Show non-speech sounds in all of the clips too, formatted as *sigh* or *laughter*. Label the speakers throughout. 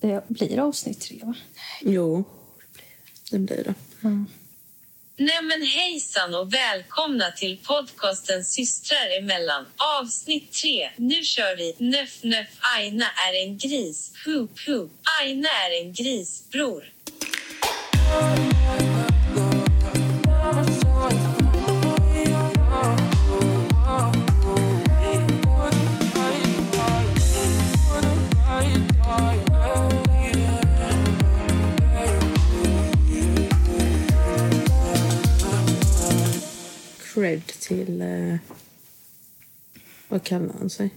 Speaker 1: Det blir avsnitt tre, va?
Speaker 2: Jo, det blir det.
Speaker 3: Nej men hejsan och välkomna till podcasten Systrar emellan avsnitt 3. Nu kör vi! Nöff nöff Aina är en gris. Hoop hoop. Aina är en gris, bror.
Speaker 2: Cred till... Eh, vad kallar han sig?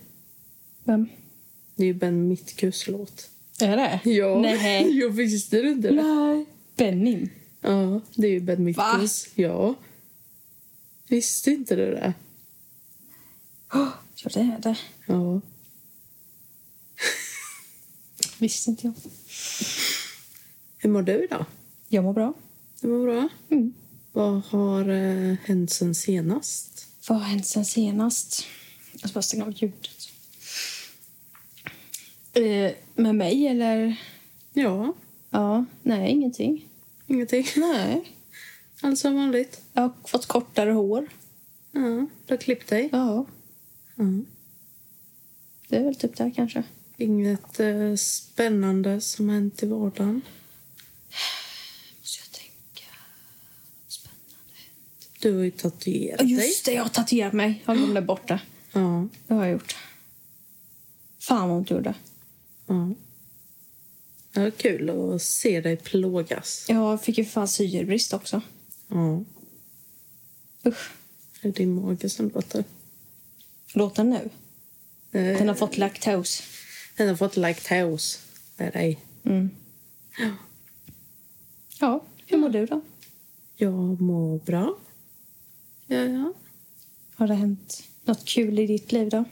Speaker 1: Vem?
Speaker 2: Det är ju Ben Mitkus låt.
Speaker 1: Är det?
Speaker 2: Ja, *laughs*
Speaker 1: Nej.
Speaker 2: jag visste du inte det?
Speaker 1: Nej. Benim.
Speaker 2: Ja, det är ju Ben Mitkus. Ja. Visste inte du det?
Speaker 1: Oh, ja, det är det.
Speaker 2: Ja.
Speaker 1: Visste inte jag.
Speaker 2: Hur mår du idag?
Speaker 1: Jag mår bra.
Speaker 2: Det mår bra.
Speaker 1: Mm.
Speaker 2: Vad har eh, hänt sen senast?
Speaker 1: Vad har hänt sen senast? Jag ska bara stänga av ljudet. Eh, med mig, eller?
Speaker 2: Ja,
Speaker 1: Ja, nej, ingenting.
Speaker 2: ingenting. *laughs*
Speaker 1: Nej.
Speaker 2: Allt som vanligt.
Speaker 1: Jag har fått kortare hår.
Speaker 2: Ja, du har klippt dig.
Speaker 1: Ja,
Speaker 2: Ja.
Speaker 1: det är väl typ det kanske.
Speaker 2: Inget eh, spännande som hänt i vardagen.
Speaker 1: Måste jag tänka. Spännande.
Speaker 2: Du har ju tatuerat
Speaker 1: Ja,
Speaker 2: dig.
Speaker 1: Just det, jag har tatuerat mig. Jag glömde bort det.
Speaker 2: Ja,
Speaker 1: Det har jag gjort. Fan vad ont det gjorde.
Speaker 2: ja. Det var kul att se dig plågas.
Speaker 1: Jag fick ju för fan syrebrist också.
Speaker 2: Ja.
Speaker 1: Usch.
Speaker 2: Det är din mage som låter.
Speaker 1: Låter den nu?
Speaker 2: Eh,
Speaker 1: Den har fått laktos.
Speaker 2: Den har fått lactose. Det är dig.
Speaker 1: Mm.
Speaker 2: Ja.
Speaker 1: Ja, hur mår du då?
Speaker 2: Jag mår bra. Ja, ja.
Speaker 1: Har det hänt något kul i ditt liv då?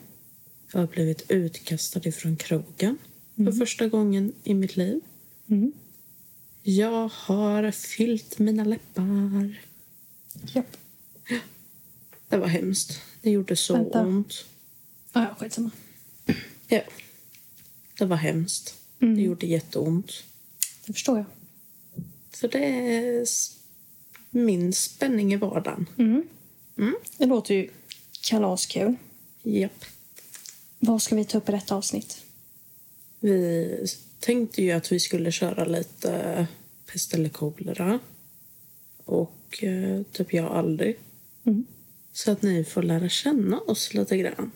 Speaker 2: Jag har blivit utkastad ifrån krogen för första gången i mitt liv.
Speaker 1: Mm.
Speaker 2: Jag har fyllt mina läppar.
Speaker 1: Japp.
Speaker 2: Det var hemskt. Det gjorde så
Speaker 1: Vänta.
Speaker 2: ont.
Speaker 1: Ja, ja, skitsamma.
Speaker 2: Ja. Det var hemskt.
Speaker 1: Mm.
Speaker 2: Det gjorde jätteont.
Speaker 1: Det förstår jag.
Speaker 2: Så det är s- min spänning i vardagen.
Speaker 1: Mm. Det låter ju kalaskul.
Speaker 2: Japp.
Speaker 1: Vad ska vi ta upp i detta avsnitt?
Speaker 2: Vi s- tänkte ju att vi skulle köra lite pest eller kolera. Och eh, typ jag aldrig.
Speaker 1: Mm.
Speaker 2: Så att ni får lära känna oss lite grann.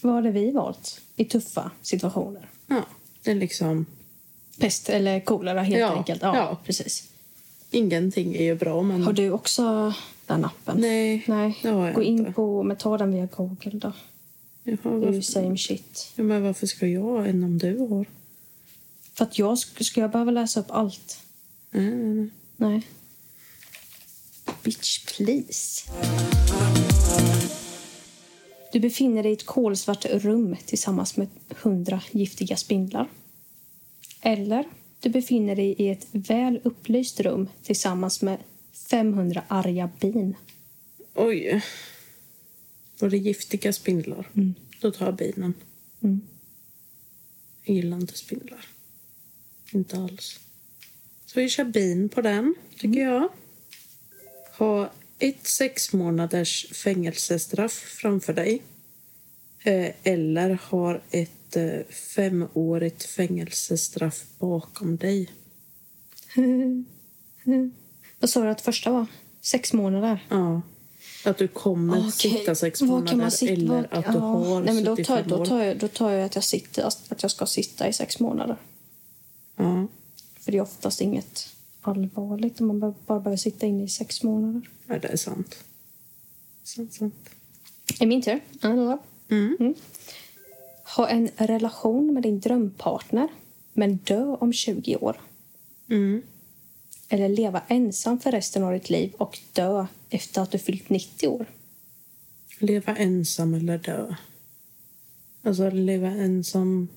Speaker 1: Vad hade vi valt i tuffa situationer?
Speaker 2: Ja, det är liksom...
Speaker 1: Pest eller kolera helt
Speaker 2: Ja,
Speaker 1: enkelt. Ja,
Speaker 2: ja.
Speaker 1: precis.
Speaker 2: Ingenting är ju bra, men...
Speaker 1: Har du också den appen?
Speaker 2: Nej,
Speaker 1: Nej.
Speaker 2: det har jag
Speaker 1: Gå in
Speaker 2: inte.
Speaker 1: på, men ta den via Google då.
Speaker 2: Jaha,
Speaker 1: Det är ju
Speaker 2: varför...
Speaker 1: same shit.
Speaker 2: ja, men varför ska jag ha en om du har?
Speaker 1: För att jag, sk- ska jag behöva läsa upp allt?
Speaker 2: Nej, nej, nej.
Speaker 1: Nej. Bitch, please. Du befinner dig i ett kolsvart rum tillsammans med hundra giftiga spindlar. Eller du befinner dig i ett väl upplyst rum tillsammans med 500 arga bin.
Speaker 2: Oj. Var det giftiga spindlar? Då tar jag binen.
Speaker 1: Mm.
Speaker 2: Jag gillar inte spindlar. Inte alls. Så vi kör bin på den, tycker
Speaker 1: Mm.
Speaker 2: jag. Ha ett sex månaders fängelsestraff framför dig. Eh, Eller har ett eh, femårigt fängelsestraff bakom dig.
Speaker 1: Vad sa du att första var? Sex månader?
Speaker 2: Ja. Att du kommer
Speaker 1: Okej,
Speaker 2: sitta sex
Speaker 1: vad
Speaker 2: månader
Speaker 1: kan man sitta-
Speaker 2: eller
Speaker 1: vad-
Speaker 2: att du
Speaker 1: ja.
Speaker 2: har
Speaker 1: Nej, men då,
Speaker 2: suttit
Speaker 1: tar, jag-
Speaker 2: fem
Speaker 1: då,
Speaker 2: år.
Speaker 1: tar jag, då tar jag att jag, sitter, att jag ska sitta i sex månader.
Speaker 2: Ja.
Speaker 1: För det är oftast inget allvarligt om man bara- bara behöver sitta inne i sex månader.
Speaker 2: Ja, det är sant. Sant, sant.
Speaker 1: Är min tur? Alltså.
Speaker 2: Mm.
Speaker 1: Ha en relation med din drömpartner, men dö om 20 år.
Speaker 2: Mm.
Speaker 1: Eller leva ensam för resten av ditt liv och dö efter att du fyllt 90 år.
Speaker 2: Leva ensam eller dö. Alltså, leva ensam,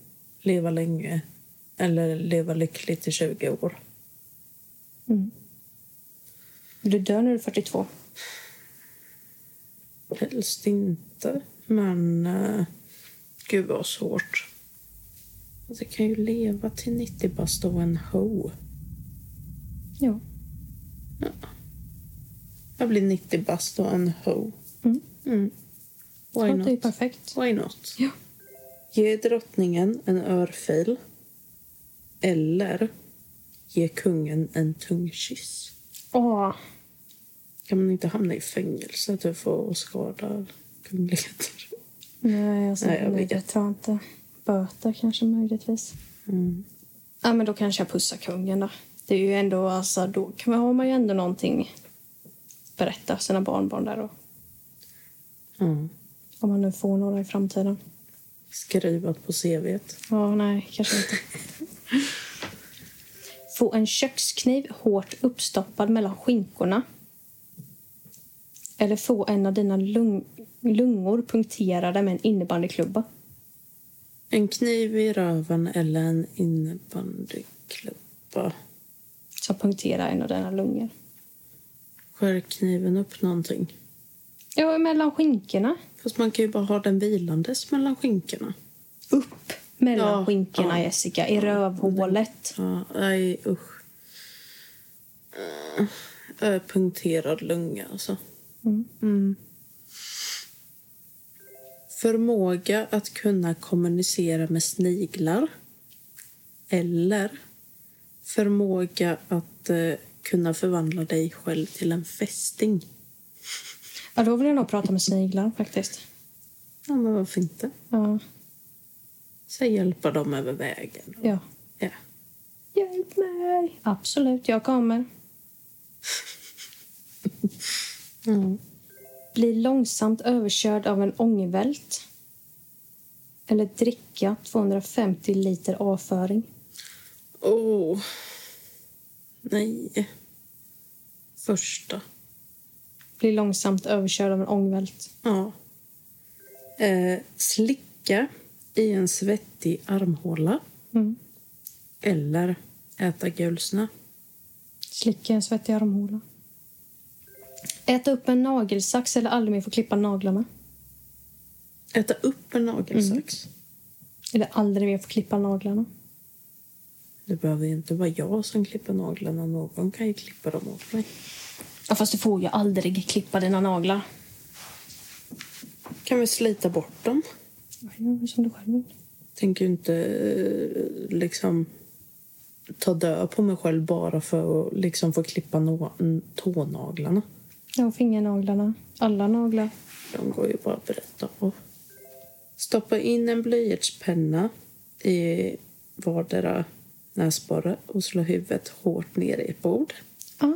Speaker 2: leva länge eller leva lyckligt i 20 år.
Speaker 1: Du dör när du är 42.
Speaker 2: Helst inte, men... eh, gud, vad svårt. Alltså, kan ju leva till 90 bast och en ho.
Speaker 1: Ja.
Speaker 2: Ja. Jag blir 90 bast och en ho.
Speaker 1: Mm.
Speaker 2: Mm. Why
Speaker 1: Ja, det är ju
Speaker 2: not?
Speaker 1: perfekt.
Speaker 2: Why not?
Speaker 1: Ja.
Speaker 2: Ge drottningen en örfil. Eller ge kungen en tung kyss.
Speaker 1: Åh,
Speaker 2: Kan man inte hamna i fängelse typ, för att skada kungligheter?
Speaker 1: nej, alltså,
Speaker 2: Nej, jag
Speaker 1: nej,
Speaker 2: vet.
Speaker 1: jag tror inte. Böter kanske möjligtvis.
Speaker 2: Mm.
Speaker 1: Ja, men då kanske jag pussar kungen då. Det är ju ändå, alltså, då kan man, har man ju ändå någonting att berätta för sina barnbarn där då.
Speaker 2: Ja.
Speaker 1: Om man nu får några i framtiden.
Speaker 2: Skrivat på CVt.
Speaker 1: Ja, nej, kanske
Speaker 2: *laughs*
Speaker 1: inte. Få en kökskniv hårt uppstoppad mellan skinkorna. Eller få en av dina lung- lungor punkterade med en innebandyklubba.
Speaker 2: En kniv i röven eller en innebandyklubba.
Speaker 1: Som punkterar en av dina lungor.
Speaker 2: Skär kniven upp någonting?
Speaker 1: Ja, mellan skinkorna.
Speaker 2: Fast man kan ju bara ha den vilandes mellan skinkorna.
Speaker 1: Upp mellan
Speaker 2: Ja,
Speaker 1: skinkorna,
Speaker 2: ja.
Speaker 1: Jessica. I rövhålet.
Speaker 2: Ja, nej usch. Eh, Jag är punkterad lunga alltså.
Speaker 1: Mm.
Speaker 2: Mm. Förmåga att kunna kommunicera med sniglar. Eller förmåga att eh, kunna förvandla dig själv till en fästing.
Speaker 1: Ja, då vill jag nog prata med sniglar faktiskt.
Speaker 2: Ja, men varför inte?
Speaker 1: Ja.
Speaker 2: Så hjälpa dem över vägen.
Speaker 1: ja.
Speaker 2: Ja.
Speaker 1: Hjälp mig! Absolut, jag kommer.
Speaker 2: Mm.
Speaker 1: Bli långsamt överkörd av en ångvält. Eller dricka 250 liter avföring.
Speaker 2: Åh. Nej. Första.
Speaker 1: Bli långsamt överkörd av en ångvält.
Speaker 2: Ja. Eh, slicka i en svettig armhåla
Speaker 1: Mm.
Speaker 2: eller äta gulsna.
Speaker 1: Slicka en svettig armhåla. Äta upp en nagelsax eller aldrig mer få klippa naglarna.
Speaker 2: Äta upp en nagelsax.
Speaker 1: Eller aldrig mer få klippa naglarna.
Speaker 2: Det behöver ju inte vara jag som klipper naglarna. Någon kan ju klippa dem åt mig.
Speaker 1: Ja, fast du får ju aldrig klippa dina naglar.
Speaker 2: Kan vi slita bort dem?
Speaker 1: Ja, gör som du själv vill.
Speaker 2: Tänker ju inte eh, liksom ta död på mig själv bara för att liksom få klippa nå- n- tånaglarna.
Speaker 1: Ja, fingernaglarna. Alla naglar.
Speaker 2: De går ju bara att berätta om. Stoppa in en blyertspenna i vardera näsborre och slå huvudet hårt ner i ett bord.
Speaker 1: Ah.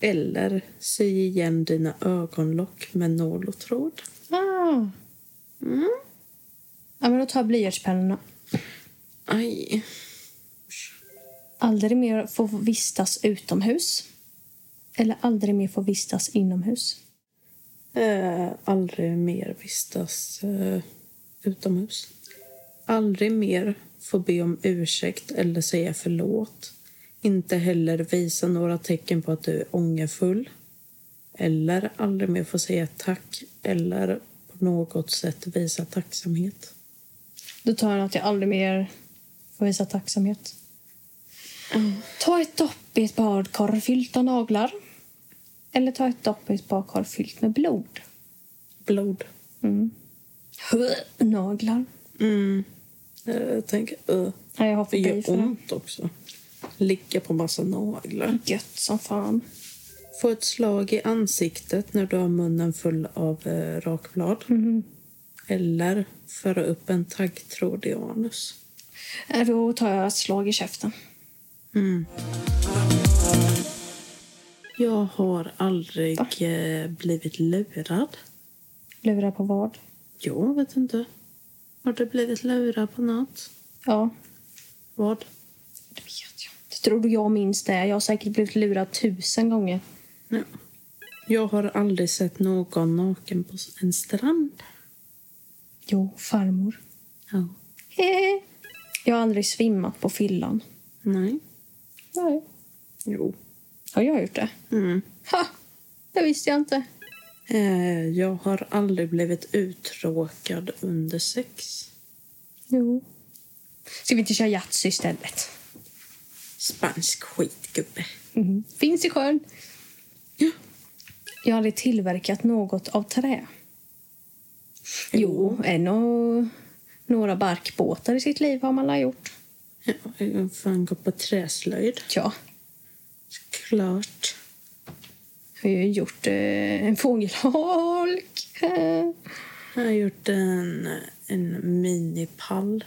Speaker 2: Eller sy igen dina ögonlock med nål och tråd.
Speaker 1: Ah.
Speaker 2: Mm.
Speaker 1: Ja, men då tar jag blyertspennorna.
Speaker 2: Aj.
Speaker 1: Aldrig mer få vistas utomhus. Eller aldrig mer få vistas inomhus.
Speaker 2: Eh, aldrig mer vistas eh, utomhus. Aldrig mer få be om ursäkt eller säga förlåt. Inte heller visa några tecken på att du är ångerfull. Eller aldrig mer få säga tack eller på något sätt visa tacksamhet.
Speaker 1: Då tar jag att jag aldrig mer får visa tacksamhet. Ta ett dopp i ett badkar fyllt av naglar. Eller ta ett dopp i ett badkar fyllt med blod.
Speaker 2: Blod.
Speaker 1: Mm. Naglar.
Speaker 2: Mm. Eh, Jag tänker, uh,
Speaker 1: Nej, jag har
Speaker 2: det
Speaker 1: fobi
Speaker 2: gör
Speaker 1: för det.
Speaker 2: ont också. Ligga på massa naglar.
Speaker 1: Gött som fan.
Speaker 2: Få ett slag i ansiktet när du har munnen full av eh, rakblad. Eller föra upp en taggtråd i anus.
Speaker 1: Eh, Då tar jag ett slag i käften.
Speaker 2: Jag har aldrig eh, blivit lurad.
Speaker 1: Lurar på vad?
Speaker 2: Jag vet inte. Har du blivit lurad på något?
Speaker 1: Ja,
Speaker 2: Vad?
Speaker 1: det vet jag inte. Tror du jag minns det? Jag har säkert blivit lurad tusen gånger.
Speaker 2: Ja. Jag har aldrig sett någon naken på en strand.
Speaker 1: Jo, farmor.
Speaker 2: Ja.
Speaker 1: jag har aldrig svimmat på fyllan.
Speaker 2: Nej.
Speaker 1: Nej.
Speaker 2: Jo.
Speaker 1: Har jag gjort det?
Speaker 2: Mm.
Speaker 1: Ha! Det visste jag inte.
Speaker 2: Eh, jag har aldrig blivit uttråkad under sex.
Speaker 1: Jo. Ska vi inte köra Yatzy istället?
Speaker 2: Spansk skitgubbe.
Speaker 1: Mm. Finns i sjön.
Speaker 2: Ja.
Speaker 1: Jag hade tillverkat något av trä. Jo, en och några barkbåtar i sitt liv har man la gjort.
Speaker 2: Ja, jag har fan gå på träslöjd.
Speaker 1: Ja,
Speaker 2: Klart.
Speaker 1: jag har ju gjort eh, en fågelholk. Eh,
Speaker 2: Jag har gjort en, en minipall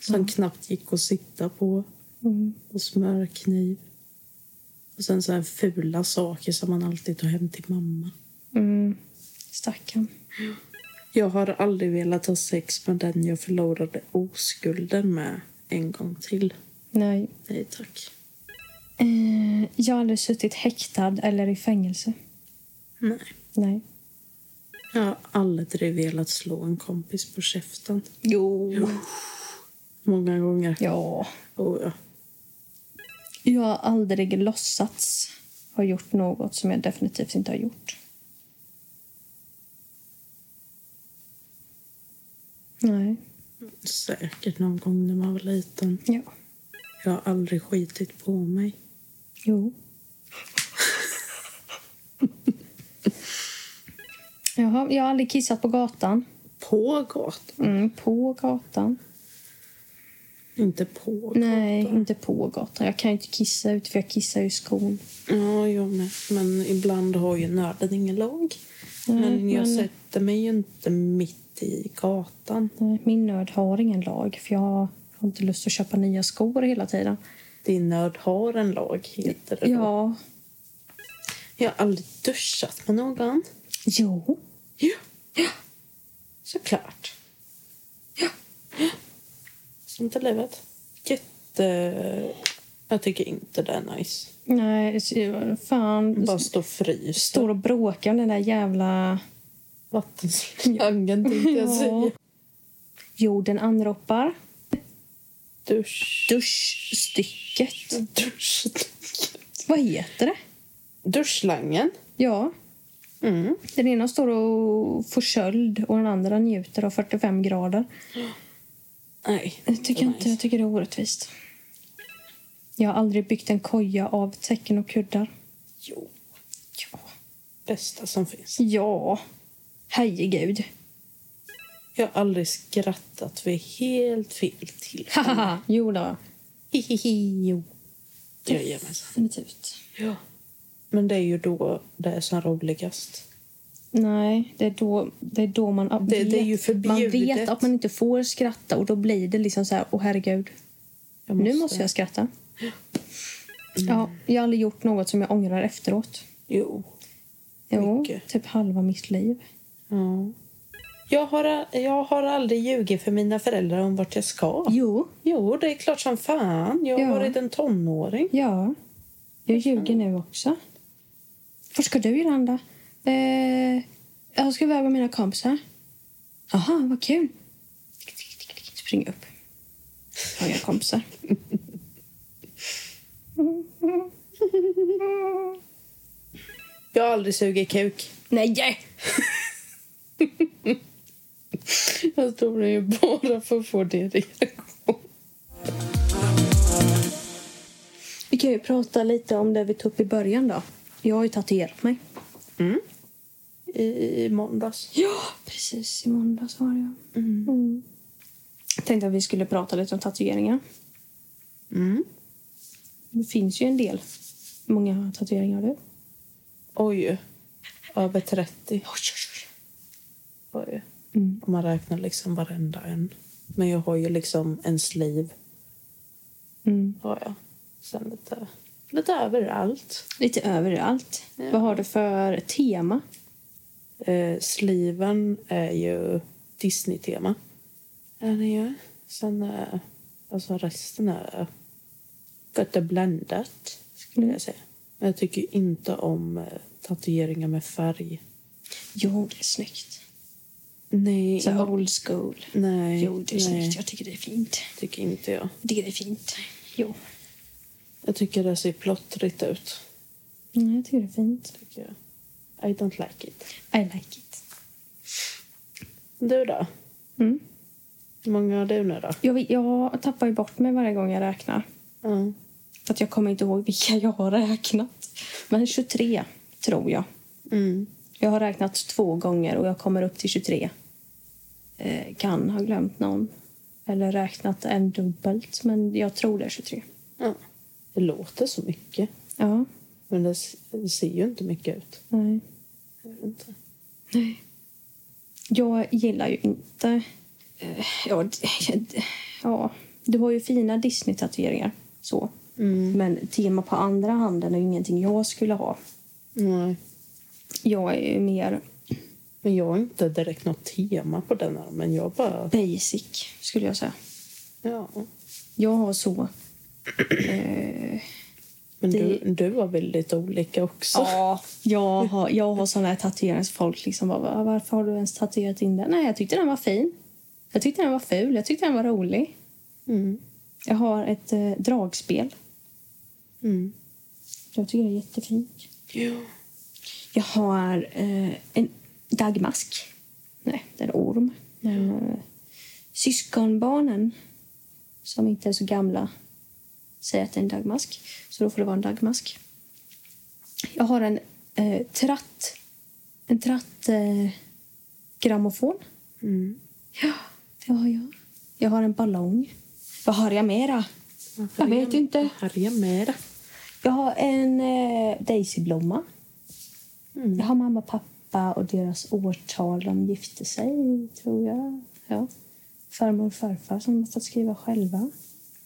Speaker 2: som knappt gick att sitta på.
Speaker 1: Mm.
Speaker 2: Och smörkniv. Och sen så här fula saker som man alltid tar hem till mamma.
Speaker 1: Mm. Stackarn.
Speaker 2: Jag har aldrig velat ha sex med den jag förlorade oskulden med en gång till.
Speaker 1: Nej.
Speaker 2: Nej tack.
Speaker 1: Eh, jag har aldrig suttit häktad eller i fängelse.
Speaker 2: Nej.
Speaker 1: Nej.
Speaker 2: Jag har aldrig velat slå en kompis på käften.
Speaker 1: Jo.
Speaker 2: Många gånger.
Speaker 1: Ja.
Speaker 2: Oh, ja.
Speaker 1: Jag har aldrig låtsats ha gjort något som jag definitivt inte har gjort. Nej.
Speaker 2: Säkert någon gång när man var liten.
Speaker 1: Ja.
Speaker 2: Jag har aldrig skitit på mig.
Speaker 1: Jo. Jaha, jag har aldrig kissat på gatan.
Speaker 2: På gatan?
Speaker 1: Mm, på gatan.
Speaker 2: Inte på
Speaker 1: Nej,
Speaker 2: gatan.
Speaker 1: inte på gatan. Jag kan ju inte kissa ut för jag kissar ju i skon.
Speaker 2: Ja, jag med. Men ibland har ju nörden ingen lag.
Speaker 1: Nej,
Speaker 2: men jag
Speaker 1: men-
Speaker 2: sätter mig ju inte mitt i gatan.
Speaker 1: Nej, min nörd har ingen lag för jag har inte lust att köpa nya skor hela tiden.
Speaker 2: Din nörd har en lag, heter det då.
Speaker 1: Ja.
Speaker 2: Jag har aldrig duschat med någon.
Speaker 1: Jo.
Speaker 2: Ja. Såklart. Ja. Sånt är livet. Jätte... Jag tycker inte det är nice.
Speaker 1: Nej, så- fan.
Speaker 2: Bara stå och frysa.
Speaker 1: Står och bråkar om den där jävla...
Speaker 2: vattenslangen tänkte jag säga.
Speaker 1: Jorden anropar.
Speaker 2: Dusch.
Speaker 1: Duschstycket.
Speaker 2: Dusch.
Speaker 1: Vad heter det?
Speaker 2: Duschslangen.
Speaker 1: Ja.
Speaker 2: Mm.
Speaker 1: Den ena står och får köld och den andra njuter av 45 grader.
Speaker 2: Nej.
Speaker 1: Jag tycker, inte, jag tycker det är orättvist. Jag har aldrig byggt en koja av tecken och kuddar.
Speaker 2: Jo,
Speaker 1: Ja.
Speaker 2: bästa som finns.
Speaker 1: Ja. Herregud.
Speaker 2: Jag har aldrig skrattat vid helt fel
Speaker 1: *laughs*
Speaker 2: till.
Speaker 1: Haha. Mm. Jo då.
Speaker 2: Hihihi, jo. Jajamensan.
Speaker 1: Definitivt.
Speaker 2: Ja. Men det är ju då det är som roligast.
Speaker 1: Nej, det är då, det är då man
Speaker 2: Det- det är ju
Speaker 1: Man vet
Speaker 2: förbjudet.
Speaker 1: att man inte får skratta och då blir det liksom så här, åh herregud,
Speaker 2: Jag
Speaker 1: nu måste Mm. jag skratta. Ja, jag har aldrig gjort något som jag ångrar efteråt.
Speaker 2: Jo.
Speaker 1: Jo,
Speaker 2: Mycket.
Speaker 1: typ halva mitt liv.
Speaker 2: Ja. Jag har, jag har aldrig ljugit för mina föräldrar om vart jag ska.
Speaker 1: Jo,
Speaker 2: Jo, det är klart som fan. Jag har
Speaker 1: Ja.
Speaker 2: varit en tonåring.
Speaker 1: ja. Jag ljuger nu också. Vart ska du, Jolanda? Eh, jag ska iväg med mina kompisar. Aha, vad kul. Tick, tick, tick, tick, Spring upp. Har jag kompisar.
Speaker 2: Jag har aldrig sugit kuk.
Speaker 1: Nej!
Speaker 2: Jag tror det är ju bara för att få det reaktion.
Speaker 1: Vi kan ju prata lite om det vi tog upp i början då. Jag har ju tatuerat mig.
Speaker 2: I måndags.
Speaker 1: Ja, precis. I måndags var det jag. Mm. Tänkte att vi skulle prata lite om tatueringar.
Speaker 2: Mm.
Speaker 1: Det finns ju en del. Hur många tatueringar har du? Oj,
Speaker 2: Oj. Över 30.
Speaker 1: oj, oj.
Speaker 2: Oj.
Speaker 1: Mm.
Speaker 2: Om man räknar liksom varenda en. Men jag har ju liksom en sliv.
Speaker 1: Mm.
Speaker 2: Har jag. Sen lite, lite överallt.
Speaker 1: Lite överallt.
Speaker 2: Ja.
Speaker 1: Vad har du för tema?
Speaker 2: Eh, sliven är ju Disney-tema. Ja, det är ju. Sen eh, alltså resten är gott och blandat, skulle jag säga. Men jag tycker ju inte om eh, tatueringar med färg.
Speaker 1: Jo, det är snyggt.
Speaker 2: Nej.
Speaker 1: Så old school.
Speaker 2: Nej.
Speaker 1: Jo, det är
Speaker 2: nej.
Speaker 1: snyggt. Jag tycker det är fint.
Speaker 2: tycker inte jag.
Speaker 1: Jag tycker det är fint. Jo.
Speaker 2: Jag tycker det ser plottrigt ut.
Speaker 1: Nej, Mm, jag tycker det är fint.
Speaker 2: Tycker jag. I don't like it.
Speaker 1: I like it.
Speaker 2: Du då?
Speaker 1: Mm.
Speaker 2: Hur många har du nu då?
Speaker 1: Jag, vet- jag tappar ju bort mig varje gång jag räknar.
Speaker 2: Ja.
Speaker 1: För att jag kommer inte ihåg vilka *laughs* jag har räknat. Men 23 tror jag.
Speaker 2: Mm.
Speaker 1: Jag har räknat två gånger och jag kommer upp till 23. Eh, kan ha glömt någon. Eller räknat en dubbelt, men jag tror det är 23.
Speaker 2: ja. Det låter så mycket,
Speaker 1: Ja,
Speaker 2: men det, s- det ser ju inte mycket ut.
Speaker 1: nej.
Speaker 2: Jag vet inte.
Speaker 1: Jag gillar ju inte... Eh, ja, d- ja, du har ju fina Disney-tatueringar. Så.
Speaker 2: Mm.
Speaker 1: Men tema på andra handen är ju ingenting jag skulle ha.
Speaker 2: Nej.
Speaker 1: Jag är ju mer
Speaker 2: Men jag har inte direkt något tema på den här, men jag bara...
Speaker 1: basic, skulle jag säga.
Speaker 2: Ja.
Speaker 1: Jag har så... Eh,
Speaker 2: Men
Speaker 1: Det-
Speaker 2: du, du var väldigt olika också.
Speaker 1: Ja, jag har, jag har såna här tatueringsfolk. Liksom bara, "Va, varför har du ens tatuerat in den? Nej, jag tyckte den var fin. Jag tyckte den var ful. Jag tyckte den var rolig.
Speaker 2: Mm.
Speaker 1: Jag har ett eh, dragspel.
Speaker 2: Mm.
Speaker 1: Jag tycker det är jättefint.
Speaker 2: Ja.
Speaker 1: Jag har eh, en dagmask. Nej, det är en orm. Eh, syskonbarnen, som inte är så gamla, säger att det är en dagmask. Så då får det vara en dagmask. Jag har en eh, tratt... En tratt... Eh, grammofon.
Speaker 2: Mm.
Speaker 1: Ja, det har jag. Jag har en ballong. Vad har jag mera? Jag vet inte.
Speaker 2: Harja med det.
Speaker 1: Jag har en eh, daisyblomma.
Speaker 2: Mm.
Speaker 1: Jag har mamma, pappa och deras årtal de gifte sig, tror jag. Ja. Farmor och farfar som de har fått skriva själva.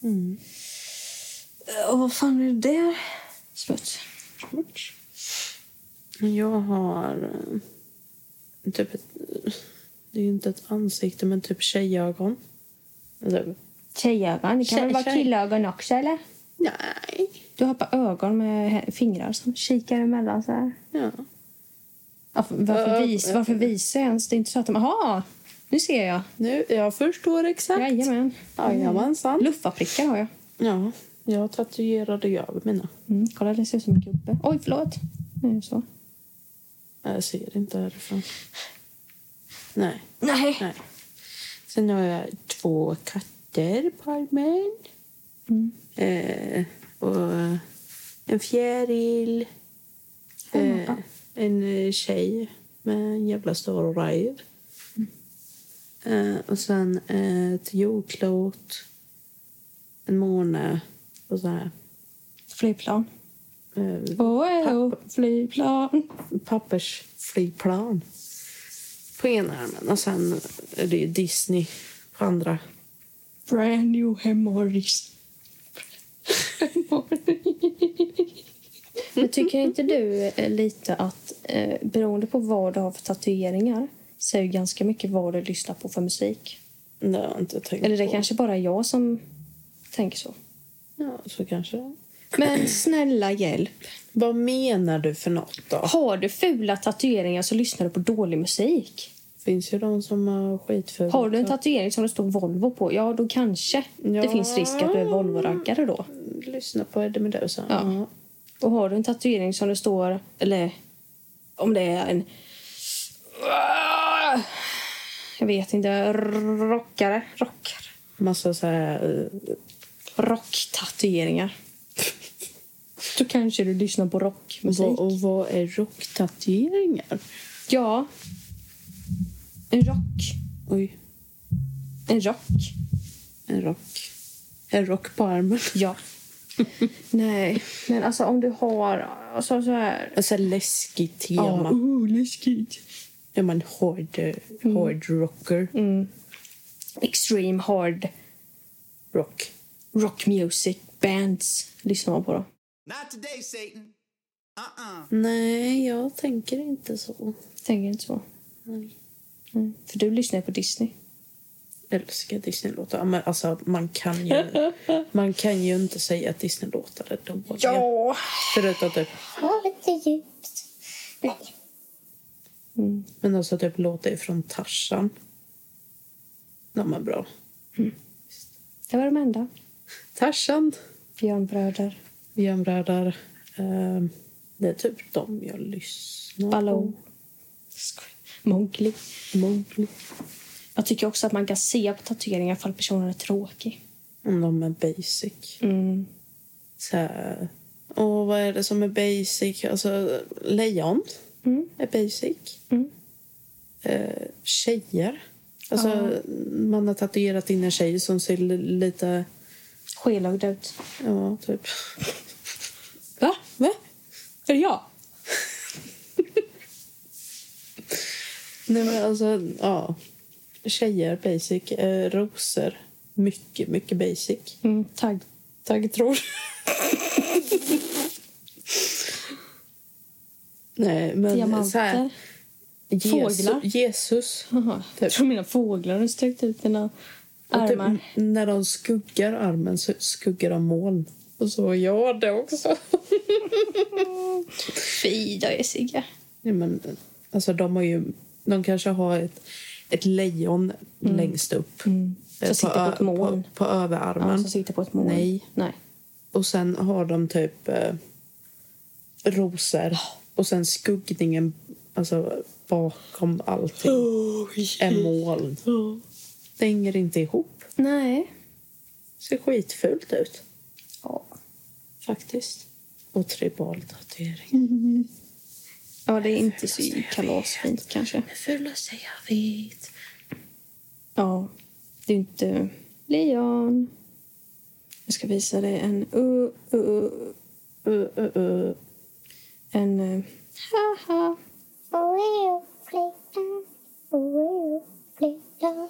Speaker 2: Mm.
Speaker 1: Eh, Och vad fan är det där? Smuts.
Speaker 2: Smuts. Jag har eh, typ ett, det är ju inte ett ansikte men typ tjejögon. Alltså,
Speaker 1: Tjejögon. Det kan
Speaker 2: Tjej-
Speaker 1: väl vara
Speaker 2: tjej.
Speaker 1: killögon också, eller?
Speaker 2: nej.
Speaker 1: Du har bara ögon med hä- fingrar som kikar emellan så här.
Speaker 2: Ja.
Speaker 1: Ja, f- Varför,
Speaker 2: Ö-
Speaker 1: vis, varför visar jag ens? Det är inte så att de... Jaha! Nu ser jag.
Speaker 2: Nu, jag förstår exakt.
Speaker 1: Jajamän.
Speaker 2: Jajamensan.
Speaker 1: Luffarprickar har jag.
Speaker 2: Ja, jag tatuerade ju över mina.
Speaker 1: Mm, kolla, det ser ut som en gubbe. Oj, förlåt. Nej, så.
Speaker 2: Jag ser inte härifrån. Nej.
Speaker 1: Nej.
Speaker 2: nej. Sen har jag två katter på armen.
Speaker 1: Mm.
Speaker 2: Eh, och en fjäril. Eh, en eh, tjej med en jävla stor röv. Eh, och sen eh, ett jordklot. En måne. Och så här.
Speaker 1: Flygplan.
Speaker 2: Eh,
Speaker 1: Åh, åh, flygplan.
Speaker 2: pappersflygplan på ena armen. Och sen är det ju Disney på andra.
Speaker 1: Brand new hemorris. *laughs* Men tycker inte du eh, lite att eh, beroende på vad du har för tatueringar så är ju ganska mycket vad du lyssnar på för musik?
Speaker 2: Det har jag inte tänkt
Speaker 1: Eller det
Speaker 2: på.
Speaker 1: kanske bara är jag som tänker så.
Speaker 2: Ja, så kanske det är.
Speaker 1: Men snälla hjälp.
Speaker 2: Vad menar du för något då?
Speaker 1: Har du fula tatueringar så lyssnar du på dålig musik.
Speaker 2: finns ju de som har skitfula.
Speaker 1: Har du en tatuering som det står Volvo på, ja då kanske det
Speaker 2: Ja.
Speaker 1: finns risk att du är Volvo-raggare då.
Speaker 2: Lyssna på Eddie Meduza.
Speaker 1: Ja. Och har du en tatuering som det står, eller om det är en... Jag vet inte. Rockare. Rockare.
Speaker 2: Massa så här... eh, *laughs*
Speaker 1: Rocktatueringar. Då kanske du lyssnar på rockmusik.
Speaker 2: Vad, och vad är rocktatueringar?
Speaker 1: Ja. En rock.
Speaker 2: Oj,
Speaker 1: En rock.
Speaker 2: en rock. En rock på armen. *laughs*
Speaker 1: Ja. Nej, men alltså om du har... Alltså så här...
Speaker 2: Alltså läskigt tema.
Speaker 1: Ja, oh, läskigt.
Speaker 2: Är man hård, eh,
Speaker 1: Mm.
Speaker 2: hård rocker?
Speaker 1: Extreme hard
Speaker 2: Rock.
Speaker 1: rock music bands lyssnar man på då.
Speaker 4: Not today, Satan. Uh-uh.
Speaker 2: Nej, jag tänker inte så.
Speaker 1: Tänker inte så.
Speaker 2: Nej.
Speaker 1: Mm. För du lyssnar ju på Disney.
Speaker 2: Jag älskar Disney-låtar. Ja, Men alltså, man kan ju, man kan ju inte säga att Disney-låtar är dåliga. Förutom typ...
Speaker 1: Mm.
Speaker 2: Men alltså typ låtar från Tarzan. De är bra.
Speaker 1: Det var de enda.
Speaker 2: Tarzan,
Speaker 1: Björnbröder.
Speaker 2: Björnbröder. Eh, det är typ de jag lyssnar på.
Speaker 1: Baloo. Mowgli.
Speaker 2: Mowgli.
Speaker 1: Jag tycker också att man kan se på tatueringar ifall personen är tråkig.
Speaker 2: Om de är basic.
Speaker 1: Mm.
Speaker 2: Så här. Och vad är det som är basic? Alltså, lejon
Speaker 1: Mm.
Speaker 2: är basic.
Speaker 1: Mm.
Speaker 2: Eh, tjejer. Alltså, Man har tatuerat in en tjej som ser li- lite...
Speaker 1: Skelögd ut.
Speaker 2: Ja, typ.
Speaker 1: Va? Va? Är det jag?
Speaker 2: Nej, men alltså, ja. Tjejer, basic. Eh, rosor, mycket, mycket basic.
Speaker 1: Mm, tagg. *laughs*
Speaker 2: Taggtråd. Nej, men så här,
Speaker 1: Diamanter.
Speaker 2: Jesus,
Speaker 1: Fåglar.
Speaker 2: Jesus.
Speaker 1: Jaha, Jag tror mina fåglar har sträckt ut sina
Speaker 2: Och typ,
Speaker 1: armar.
Speaker 2: när de skuggar armen så skuggar de moln. Och så jag det också.
Speaker 1: *laughs* Fy då, Jessica.
Speaker 2: Nej, men, alltså, de, har ju, de kanske har ett, ett lejon längst upp. Eh,
Speaker 1: Mm. Som sitter på
Speaker 2: ö-
Speaker 1: ett moln.
Speaker 2: På, på överarmen.
Speaker 1: Ja, som sitter på ett moln.
Speaker 2: Nej.
Speaker 1: Nej.
Speaker 2: Och sen har de typ eh, rosor. Och sen skuggningen alltså, bakom allting är moln. Det hänger inte ihop.
Speaker 1: Nej.
Speaker 2: Ser skitfult ut,
Speaker 1: Ja.
Speaker 2: faktiskt. Och tribal tatuering.
Speaker 1: ja, det är inte så kalasfint kanske.
Speaker 2: Det fulaste jag vet.
Speaker 1: Ja, det är ju inte... Leon. Jag ska visa dig en... Uh, uh, uh,
Speaker 2: Uh, uh, uh.
Speaker 1: en... Uh, haha.
Speaker 5: Will play down. Will play down.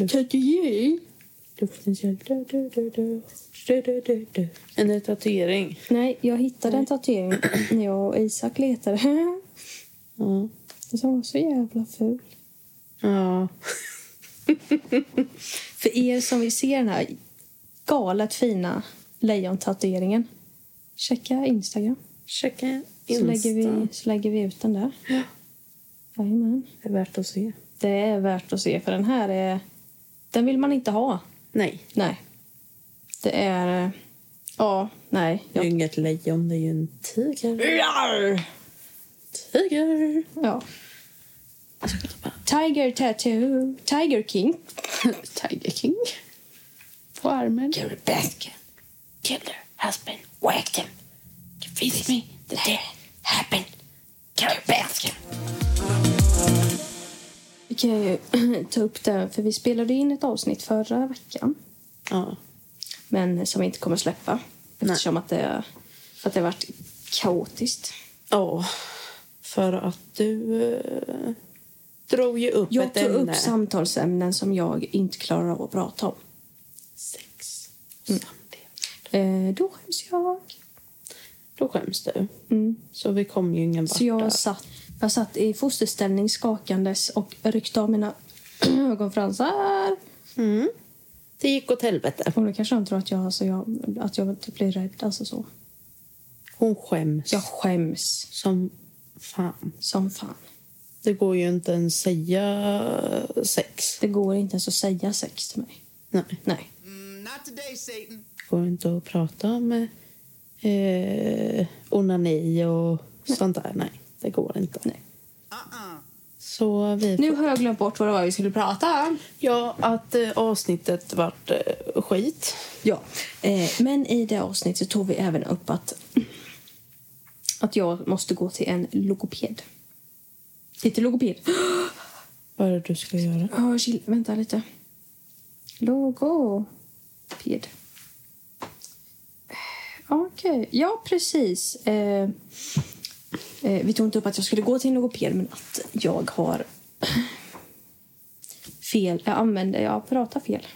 Speaker 1: En tatuering?
Speaker 2: Luftens hjälp. Du, du, du, du. Du, du, du, du. En tatuering.
Speaker 1: Nej, jag hittade en tatuering när jag och Isak letade. *laughs*
Speaker 2: Ja.
Speaker 1: Den var så jävla ful.
Speaker 2: ja.
Speaker 1: För er som vill se den här galet fina lejontatueringen, checka Instagram.
Speaker 2: Checka
Speaker 1: Så
Speaker 2: Insta.
Speaker 1: lägger, vi, så lägger vi ut den där. Jajamän.
Speaker 2: Det är värt att se.
Speaker 1: Det är värt att se, för den här är... Den vill man inte ha.
Speaker 2: Nej.
Speaker 1: Nej. Det är... eh, Ja, nej.
Speaker 2: Det är ju
Speaker 1: Jag,
Speaker 2: inget lejon, det är ju en tiger. Tiger!
Speaker 1: ja. Tiger tattoo. Tiger king. *laughs*
Speaker 2: Tiger King. På armen. Carrie Baskin killed her husband, whacked him. Convince me that that happened. Carrie Baskin.
Speaker 1: Vi kan ju *clears throat* ta upp det, för vi spelade in ett avsnitt förra veckan.
Speaker 2: Ja.
Speaker 1: Men som vi inte kommer släppa. Eftersom att det, för att det har varit kaotiskt.
Speaker 2: Ja. För att du eh, drog ju upp
Speaker 1: Jag
Speaker 2: ett
Speaker 1: tog
Speaker 2: ämne.
Speaker 1: upp samtalsämnen som jag inte klarar av att prata om.
Speaker 2: Sex och
Speaker 1: Mm.
Speaker 2: samlevnad.
Speaker 1: Eh, då skäms jag.
Speaker 2: Då skäms du.
Speaker 1: Mm.
Speaker 2: Så vi kom ju ingen vart
Speaker 1: Så
Speaker 2: där.
Speaker 1: jag satt, jag satt i fosterställning skakandes och ryckte av mina *clears throat* ögonfransar.
Speaker 2: Mm. Det gick åt helvete.
Speaker 1: Och nu kanske de tror att jag, alltså jag, att jag typ blir rädd. Alltså så.
Speaker 2: Hon skäms
Speaker 1: Jag skäms
Speaker 2: som fan.
Speaker 1: som fan.
Speaker 2: Det går ju inte ens säga sex.
Speaker 1: Det går inte ens att säga sex till mig.
Speaker 2: Nej.
Speaker 1: Nej.
Speaker 4: Mm, not today, Satan.
Speaker 2: går inte att prata om eh, onani och sånt där. Nej, det går inte.
Speaker 1: Nej.
Speaker 4: Uh-uh.
Speaker 2: Så vi...
Speaker 1: Nu har jag glömt bort vad det var vi skulle prata om.
Speaker 2: Ja, att eh, avsnittet vart eh, skit.
Speaker 1: Ja, eh, men i det avsnittet tog vi även upp att, att jag måste gå till en logoped. Lite logoped. *gasps*
Speaker 2: Vad är det du ska göra?
Speaker 1: Oh, chill, vänta lite. Logoped. Eh, Okej, ja precis. Eh, eh, vi tog inte upp att jag skulle gå till en logoped men att jag har *sighs* fel. Jag använder, jag pratar fel.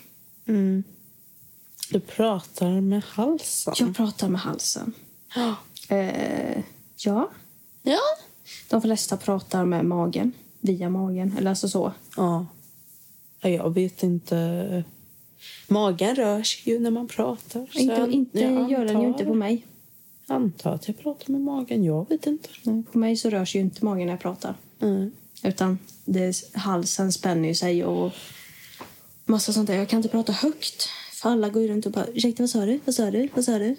Speaker 2: Du pratar med halsen.
Speaker 1: Jag pratar med halsen.
Speaker 2: Ja.
Speaker 1: Eh, ja.
Speaker 2: Ja.
Speaker 1: De flesta pratar med magen, via magen. Eller alltså så.
Speaker 2: Ja. Jag vet inte. Magen rör sig ju när man pratar. så
Speaker 1: inte
Speaker 2: jag-
Speaker 1: inte
Speaker 2: jag
Speaker 1: gör den ju
Speaker 2: antar-
Speaker 1: inte på mig.
Speaker 2: antar att jag pratar med magen. Jag vet inte.
Speaker 1: Nej, På mig så rör sig ju inte magen när jag pratar.
Speaker 2: Mm.
Speaker 1: Utan det, halsen spänner ju sig och massa sånt där. Jag kan inte prata högt. För alla går ju runt och bara ursäkta vad sa du? Vad sa du? Vad sa du?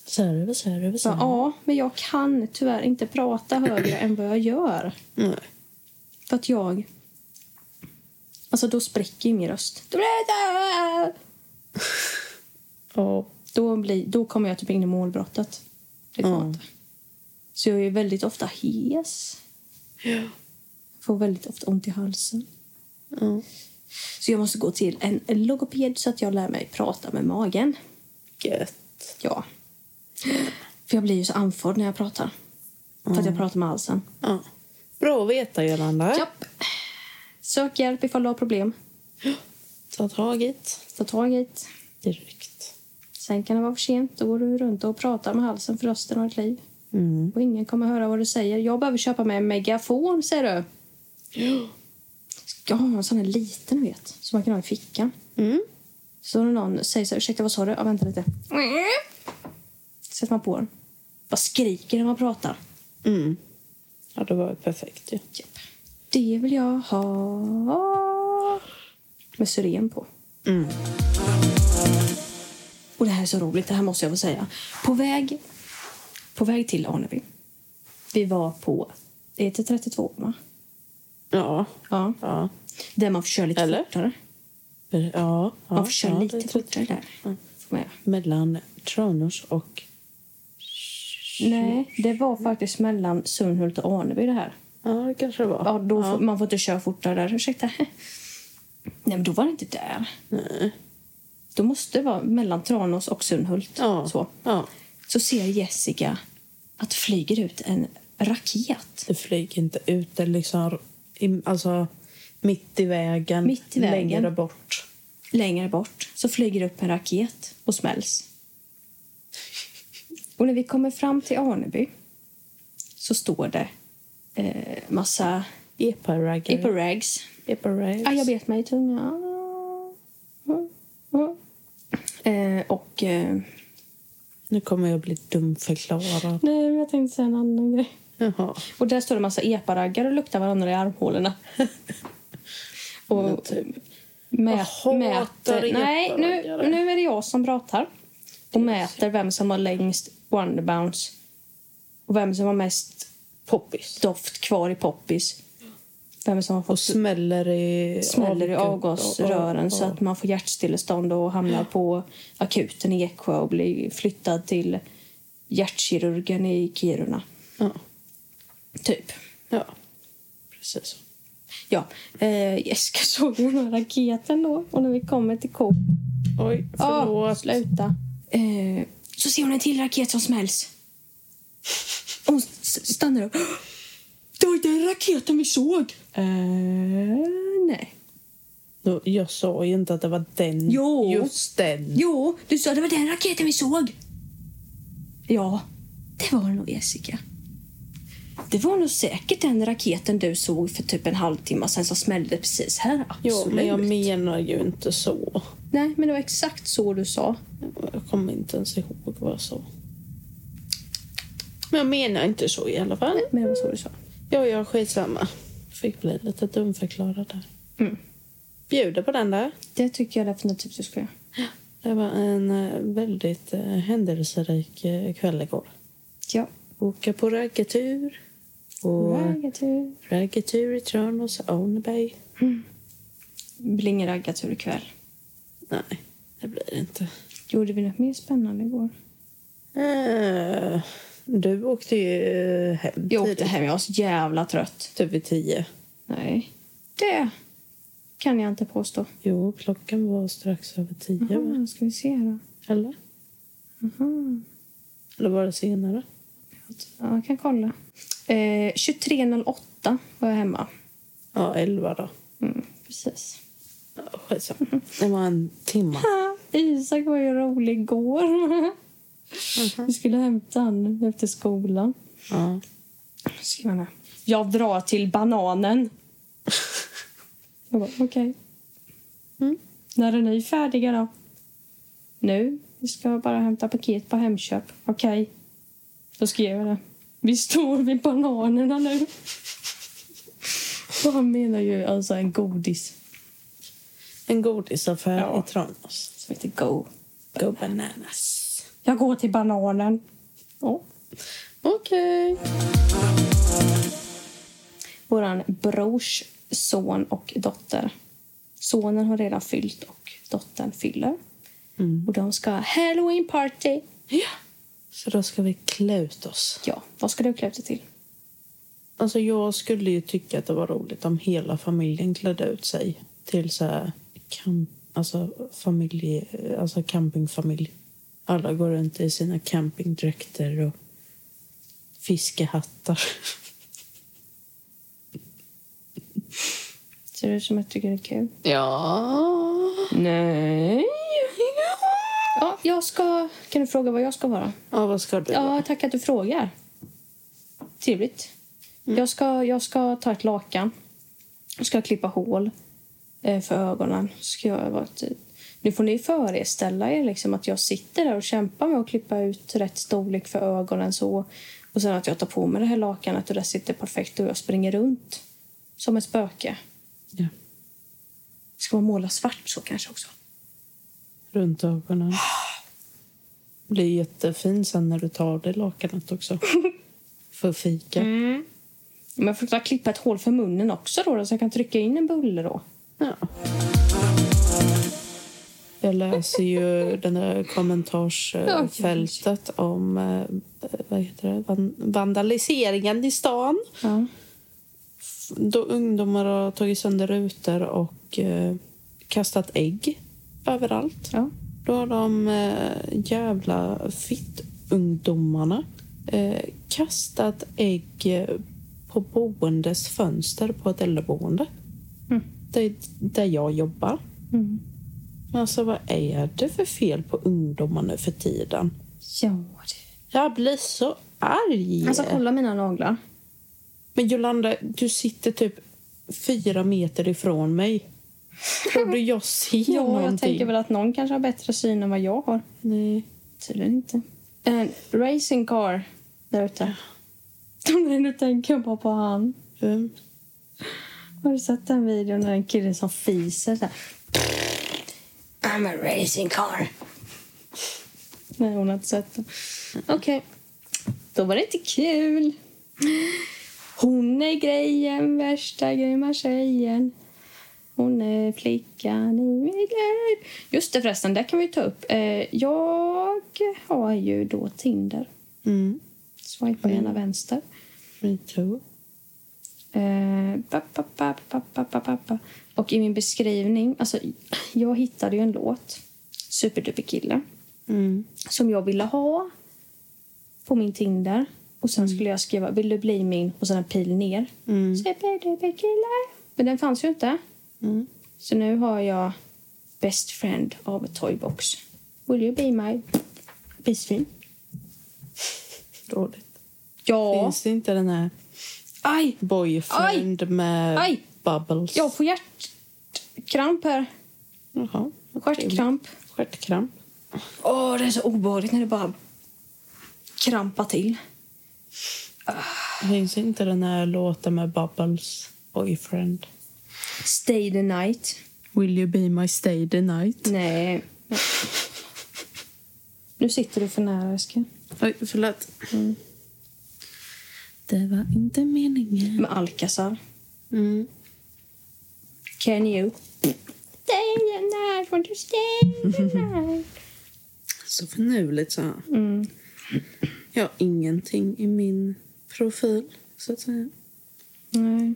Speaker 2: Vad sa du? Vad sa du? Vad
Speaker 1: Så,
Speaker 2: sa du?
Speaker 1: ja, men jag kan tyvärr inte prata högre än vad jag gör.
Speaker 2: Nej.
Speaker 1: För att jag... Alltså då spräcker ju min röst.
Speaker 2: Ja.
Speaker 1: Då, blir, då kommer jag typ in i målbrottet. Det går
Speaker 2: Ja.
Speaker 1: inte. Så jag är väldigt ofta hes.
Speaker 2: Ja.
Speaker 1: Får väldigt ofta ont i halsen.
Speaker 2: Ja.
Speaker 1: Så jag måste gå till en logoped så att jag lär mig prata med magen.
Speaker 2: Gött.
Speaker 1: Ja. För jag blir ju så andfådd när jag pratar. För att jag pratar med halsen.
Speaker 2: Ja. Bra att veta, Jolanda.
Speaker 1: Japp. Sök hjälp ifall du har problem.
Speaker 2: Ta tag i det
Speaker 1: Ta tag i det.
Speaker 2: direkt.
Speaker 1: Sen kan det vara för sent. Då går du runt och pratar med halsen för resten av ditt liv.
Speaker 2: Mm.
Speaker 1: Och ingen kommer höra vad du säger. Jag behöver köpa mig en megafon, säger du. Jag har en sån här liten, du vet. Som man kan ha i fickan.
Speaker 2: Mm.
Speaker 1: Så när någon säger så här, ursäkta vad sa du? Ja, vänta lite.
Speaker 2: Mm.
Speaker 1: Sätter man på den. Vad skriker när man pratar?
Speaker 2: Mm. Ja, det var ju perfekt ju.
Speaker 1: Japp. Det vill jag ha. Med syren på.
Speaker 2: Mm.
Speaker 1: Och det här är så roligt, det här måste jag få säga. På väg, på väg till Aneby. Vi var på, det heter 32 va?
Speaker 2: Ja.
Speaker 1: Ja.
Speaker 2: Ja.
Speaker 1: Där man får köra lite
Speaker 2: Eller?
Speaker 1: fortare.
Speaker 2: Ja. ja.
Speaker 1: Man får köra
Speaker 2: ja,
Speaker 1: lite
Speaker 2: det är Mm.
Speaker 1: fortare där. Får man göra.
Speaker 2: Mellan Tranås och...
Speaker 1: Nej, det var faktiskt mellan Sundhult och Aneby det här.
Speaker 2: Ja, det kanske det var.
Speaker 1: Ja, då Får, man får inte köra fortare där. Ursäkta. *laughs* Nej, men då var det inte där.
Speaker 2: Nej.
Speaker 1: Då måste det vara mellan Tranås och Sundhult.
Speaker 2: Ja.
Speaker 1: Så.
Speaker 2: ja.
Speaker 1: så ser Jessica att det flyger ut en raket.
Speaker 2: Det flyger inte ut. Det liksom... I, alltså, mitt i vägen.
Speaker 1: Mitt i vägen.
Speaker 2: Längre bort.
Speaker 1: Längre bort så flyger det upp en raket och
Speaker 2: *laughs*
Speaker 1: smälls. Och när vi kommer fram till Arneby så står det eh, massa
Speaker 2: Epa-raggar.
Speaker 1: epa-rags.
Speaker 2: Epa-rags.
Speaker 1: Ah, jag bet mig i tungan. Mm, mm. Eh, och... Eh,
Speaker 2: Nu kommer jag bli dumförklarad.
Speaker 1: nej, men jag tänkte säga en annan grej.
Speaker 2: Jaha.
Speaker 1: Och där står det massa epa-raggar och luktar varandra i armhålorna. *laughs* och
Speaker 2: Typ.
Speaker 1: mät,
Speaker 2: Jag hatar
Speaker 1: mäter... Nej, nu,
Speaker 2: epa-raggare.
Speaker 1: nu är det jag som pratar. Och mäter vem som har längst wonderbounce och vem som har mest
Speaker 2: Poppis.
Speaker 1: doft kvar i poppis. Vem som har
Speaker 2: Och
Speaker 1: fått
Speaker 2: smäller i...
Speaker 1: smäller i
Speaker 2: avgut-
Speaker 1: avgasrören så att man får hjärtstillestånd och hamnar på akuten i Eksjö och blir flyttad till hjärtkirurgen i Kiruna.
Speaker 2: Ja.
Speaker 1: Typ.
Speaker 2: ja. Precis.
Speaker 1: Ja, eh, Jessica *laughs* såg ju den här raketen då och när vi kommer till Coop
Speaker 2: Oj,
Speaker 1: Åh,
Speaker 2: förlåt.
Speaker 1: sluta. Eh, så ser hon en till raket som smälls. Och hon s- stannar upp. *gasps* Det var ju den raketen vi såg! Eh, nej.
Speaker 2: Då- Jag sa ju inte att det var den.
Speaker 1: Jo.
Speaker 2: Just den.
Speaker 1: Jo, du sa det var den raketen vi såg. Ja, det var det nog Jessica. Det var nog säkert den raketen du såg för typ en halvtimme sen som smällde precis här.
Speaker 2: Jo,
Speaker 1: Absolut.
Speaker 2: men jag menar ju inte så.
Speaker 1: Nej, men det var exakt så du sa.
Speaker 2: Jag kommer inte ens ihåg vad jag sa. Men jag menar inte så i alla fall.
Speaker 1: Men det var så du sa.
Speaker 2: Ja, ja, skitsamma. Fick bli lite dumförklarad där.
Speaker 1: Mm.
Speaker 2: Bjuder på den där.
Speaker 1: Det tycker jag definitivt du ska göra.
Speaker 2: Det var en eh, väldigt eh, händelserik eh, kväll igår.
Speaker 1: Ja.
Speaker 2: Åka på raggartur. Och
Speaker 1: Raggartur.
Speaker 2: raggartur i Tranås, Arneberg.
Speaker 1: Blingraggartur ikväll.
Speaker 2: Nej, det blir det inte.
Speaker 1: Gjorde vi något mer spännande igår?
Speaker 2: Eh, Du åkte ju eh, hem
Speaker 1: Jag åkte
Speaker 2: tidigt,
Speaker 1: hem, jag var så jävla trött.
Speaker 2: typ vid tio.
Speaker 1: Nej. Det kan jag inte påstå.
Speaker 2: Jo, klockan var strax över tio. va?
Speaker 1: Jaha, ska vi se då.
Speaker 2: Eller?
Speaker 1: Jaha.
Speaker 2: Eller var det senare?
Speaker 1: Ja, jag kan kolla. Eh, 23.08 var jag hemma.
Speaker 2: Ja, elva då.
Speaker 1: Mm, precis.
Speaker 2: Ja,
Speaker 1: Mhm.
Speaker 2: skitsamma. Det var en
Speaker 1: *laughs*
Speaker 2: timme.
Speaker 1: Ah, Isak var ju rolig igår. Vi skulle hämta han efter skolan.
Speaker 2: Ja.
Speaker 1: Skriver han här. Jag drar till bananen. Jag bara, okej.
Speaker 2: Mm.
Speaker 1: När är ni färdiga då? Nu. Vi ska bara hämta paket på Hemköp. Okej. Då skrev jag det. Vi står vid bananerna nu. Och han menar ju alltså en godis
Speaker 2: En godisaffär
Speaker 1: Ja.
Speaker 2: i Tranås.
Speaker 1: som heter Go.
Speaker 2: Go bananas.
Speaker 1: Jag går till bananen. Ja.
Speaker 2: Okej.
Speaker 1: Vår brors son och dotter Sonen har redan fyllt och dottern fyller.
Speaker 2: Mm.
Speaker 1: Och de ska ha halloween party.
Speaker 2: Ja. Så då ska vi klä ut oss.
Speaker 1: Ja, vad ska du klä ut dig till?
Speaker 2: Alltså jag skulle ju tycka att det var roligt om hela familjen klädde ut sig till så här camp, alltså familj, alltså campingfamilj. Alla går runt i sina campingdräkter och fiskehattar.
Speaker 1: Ser det ut som att du tycker det är kul?
Speaker 2: Ja.
Speaker 1: Nej. Ja, jag ska... Kan du fråga vad jag ska vara?
Speaker 2: Ja, vad ska du
Speaker 1: Ja, tack att du frågar. Trevligt. Jag, ska, jag ska ta ett lakan. Jag ska klippa hål eh, för ögonen. Ska jag vara ett, nu får ni föreställa er liksom att jag sitter där och kämpar med att klippa ut rätt storlek för ögonen. så Och sen att jag tar på mig det här lakanet och det sitter perfekt och jag springer runt som ett spöke.
Speaker 2: Ja.
Speaker 1: Ska man måla svart så kanske också?
Speaker 2: Runt ögonen. Blir jättefin sen när du tar det lakanet *laughs* också. För fika.
Speaker 1: Men jag får ta klippa ett hål för munnen också då, då så jag kan trycka in en bulle då.
Speaker 2: Ja. Jag läser ju den där kommentarsfältet om eh, vad heter det? Van- vandaliseringen i stan.
Speaker 1: Ja.
Speaker 2: Då ungdomar har tagit sönder rutor och eh, kastat ägg överallt.
Speaker 1: ja.
Speaker 2: Då har de eh, jävla fittungdomarna eh, kastat ägg eh, på boendes fönster på ett äldreboende.
Speaker 1: Mm.
Speaker 2: Där, där jag jobbar.
Speaker 1: Mm.
Speaker 2: Men alltså vad är det för fel på ungdomar nu för tiden?
Speaker 1: Ja, det...
Speaker 2: Jag blir så arg!
Speaker 1: Alltså, kolla mina naglar.
Speaker 2: Men Jolanda, du sitter typ fyra meter ifrån mig. Tror du jag ser
Speaker 1: Ja,
Speaker 2: någonting?
Speaker 1: jag tänker väl att någon kanske har bättre syn än vad jag har.
Speaker 2: Nej.
Speaker 1: Tydligen inte. En racing car där ute. *laughs* Nej, nu tänker jag bara på han.
Speaker 2: Vem?
Speaker 1: Har du sett den videon när en kille som fiser så här? I'm a racing car. Nej, hon har inte sett den. Okej. Då var det inte kul. Hon är grejen, värsta grymma tjejen. Hon är flickan i mitt liv. Just det förresten, där kan vi ta upp. Eh, jag har ju då Tinder.
Speaker 2: Mm.
Speaker 1: Swipa gärna vänster.
Speaker 2: Me too.
Speaker 1: Eh, pa, pa, pa, pa, pa, pa, pa, pa. Och i min beskrivning... Alltså, jag hittade ju en låt, Superduperkille,
Speaker 2: Mm.
Speaker 1: som jag ville ha på min Tinder. Och Sen skulle jag skriva vill du bli min och sen en pil ner.
Speaker 2: Mm.
Speaker 1: Superduperkille. Men den fanns ju inte.
Speaker 2: Mm.
Speaker 1: Så nu har jag Best friend av Toybox. Will you be my best friend?
Speaker 2: Dåligt.
Speaker 1: Ja.
Speaker 2: Finns det inte den här
Speaker 1: Aj!
Speaker 2: boyfriend med
Speaker 1: Aj!
Speaker 2: bubbles?
Speaker 1: Jag får hjärtkramp här.
Speaker 2: Jaha.
Speaker 1: Stjärtkramp.
Speaker 2: Stjärtkramp.
Speaker 1: Åh, det är så obehagligt när det bara krampar till.
Speaker 2: Finns inte den här låten med bubbles? Boyfriend.
Speaker 1: Stay the night.
Speaker 2: Will you be my stay the night?
Speaker 1: Nej. Nu sitter du för nära, Eskil.
Speaker 2: Oj, förlåt. Mm. Det var inte meningen.
Speaker 1: Med Alcazar.
Speaker 2: Mm.
Speaker 1: Can you? Stay the night, want you stay *laughs* the night?
Speaker 2: Så finurligt, så. Mm. Jag har ingenting i min profil, så att säga.
Speaker 1: Nej.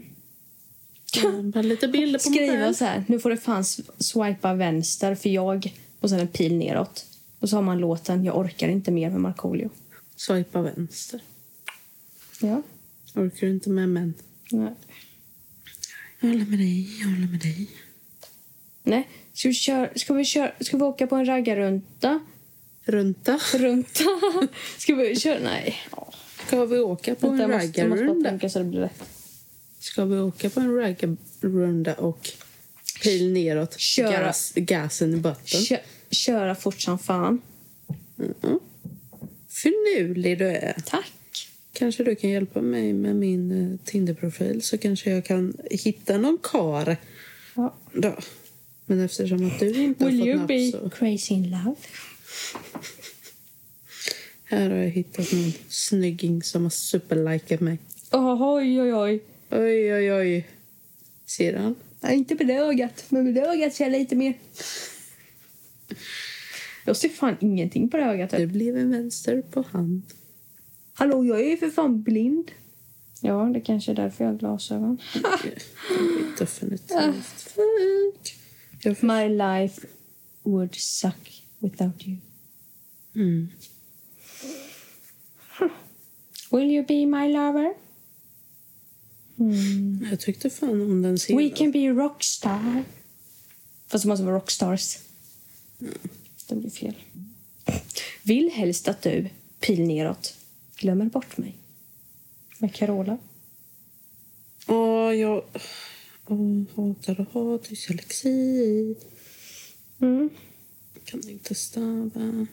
Speaker 2: Jag har Bara lite bilder på mig
Speaker 1: Skriva
Speaker 2: själv.
Speaker 1: så här. Nu får du fan swipa vänster för jag och sen en pil neråt. Och så har man låten Jag orkar inte mer med Markoolio.
Speaker 2: Swipa vänster.
Speaker 1: Ja.
Speaker 2: Orkar du inte med män?
Speaker 1: Nej.
Speaker 2: Jag håller med dig, jag håller med dig.
Speaker 1: Nej. Ska vi, köra, ska, vi köra, ska vi åka på en raggarrunda?
Speaker 2: Runta.
Speaker 1: Runta? *laughs* Ska vi köra? Nej.
Speaker 2: Ska vi åka på
Speaker 1: Vänta,
Speaker 2: en
Speaker 1: jag måste, jag måste bara
Speaker 2: raggarrunda?
Speaker 1: tänka så det blir rätt.
Speaker 2: Ska vi åka på en raggarrunda och pil neråt?
Speaker 1: Köra.
Speaker 2: Gas, gasen i botten.
Speaker 1: Kö, köra fort som fan.
Speaker 2: Finurlig du är.
Speaker 1: Tack.
Speaker 2: Kanske du kan hjälpa mig med min eh, Tinder-profil så kanske jag kan hitta någon kar.
Speaker 1: Ja.
Speaker 2: Då. Men eftersom att du inte
Speaker 1: Will you
Speaker 2: har fått
Speaker 1: be
Speaker 2: napp så...
Speaker 1: crazy in love?
Speaker 2: Här har jag hittat någon snygging som har superlikat mig.
Speaker 1: Oh, oj, oj, oj.
Speaker 2: Oj, oj, oj. Ser han?
Speaker 1: Nej, inte med det ögat, men med det ögat ser jag lite mer. Jag ser fan ingenting på det ögat.
Speaker 2: Det blev en vänster på hand.
Speaker 1: Hallå, jag är ju för fan blind. Ja, det kanske är därför jag har glasögon.
Speaker 2: Definitivt. Fuck. Jag för...
Speaker 1: My life would suck without you.
Speaker 2: mm.
Speaker 1: Will you be my lover?
Speaker 2: Jag tyckte fan om den scenen.
Speaker 1: We can be rockstar. Fast det måste vara rockstars. Det blir fel. Vill helst att du, pil neråt, glömmer bort mig. Med Carola.
Speaker 2: Åh, jag åh, hatar att ha dyslexi.
Speaker 1: Mm.
Speaker 2: Kan inte stava.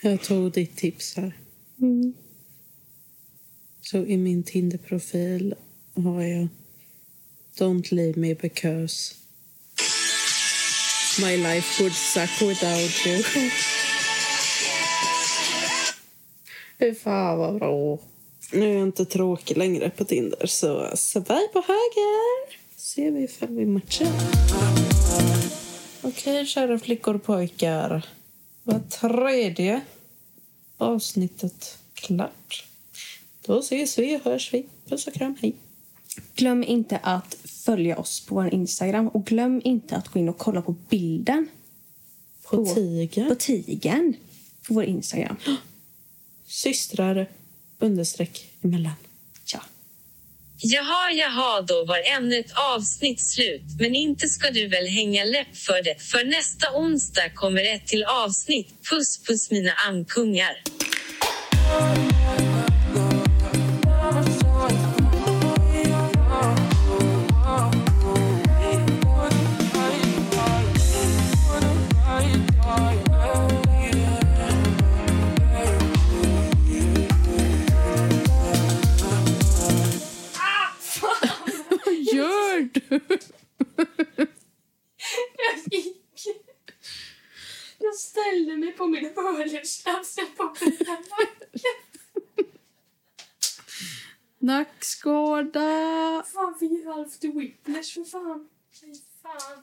Speaker 2: Jag tog ditt tips här.
Speaker 1: Mm.
Speaker 2: Så i min Tinder-profil har jag Don't leave me because my life would suck without you. Fy fan vad bra. Nu är jag inte tråkig längre på Tinder så svaj på höger. Ser vi ifall vi matchar. Okej kära flickor och pojkar. Var tredje avsnittet klart. Då ses vi, hörs vi. Puss och kram, hej.
Speaker 1: Glöm inte att följa oss på vår Instagram och glöm inte att gå in och kolla på bilden
Speaker 2: På
Speaker 1: På-
Speaker 2: tiger.
Speaker 1: på tigern på vår Instagram.
Speaker 2: Systrar understreck emellan.
Speaker 1: Ja.
Speaker 3: Jaha, jaha, då var ännu ett avsnitt slut. Men inte ska du väl hänga läpp för det, för nästa onsdag kommer ett till avsnitt. Puss, puss mina amkungar.
Speaker 2: Gör du?
Speaker 6: Jag gick. Jag ställde mig på min hörlursklass. Jag på
Speaker 2: Nackskada.
Speaker 6: Fan, vi är halvt whiplash för fan. Fy fan.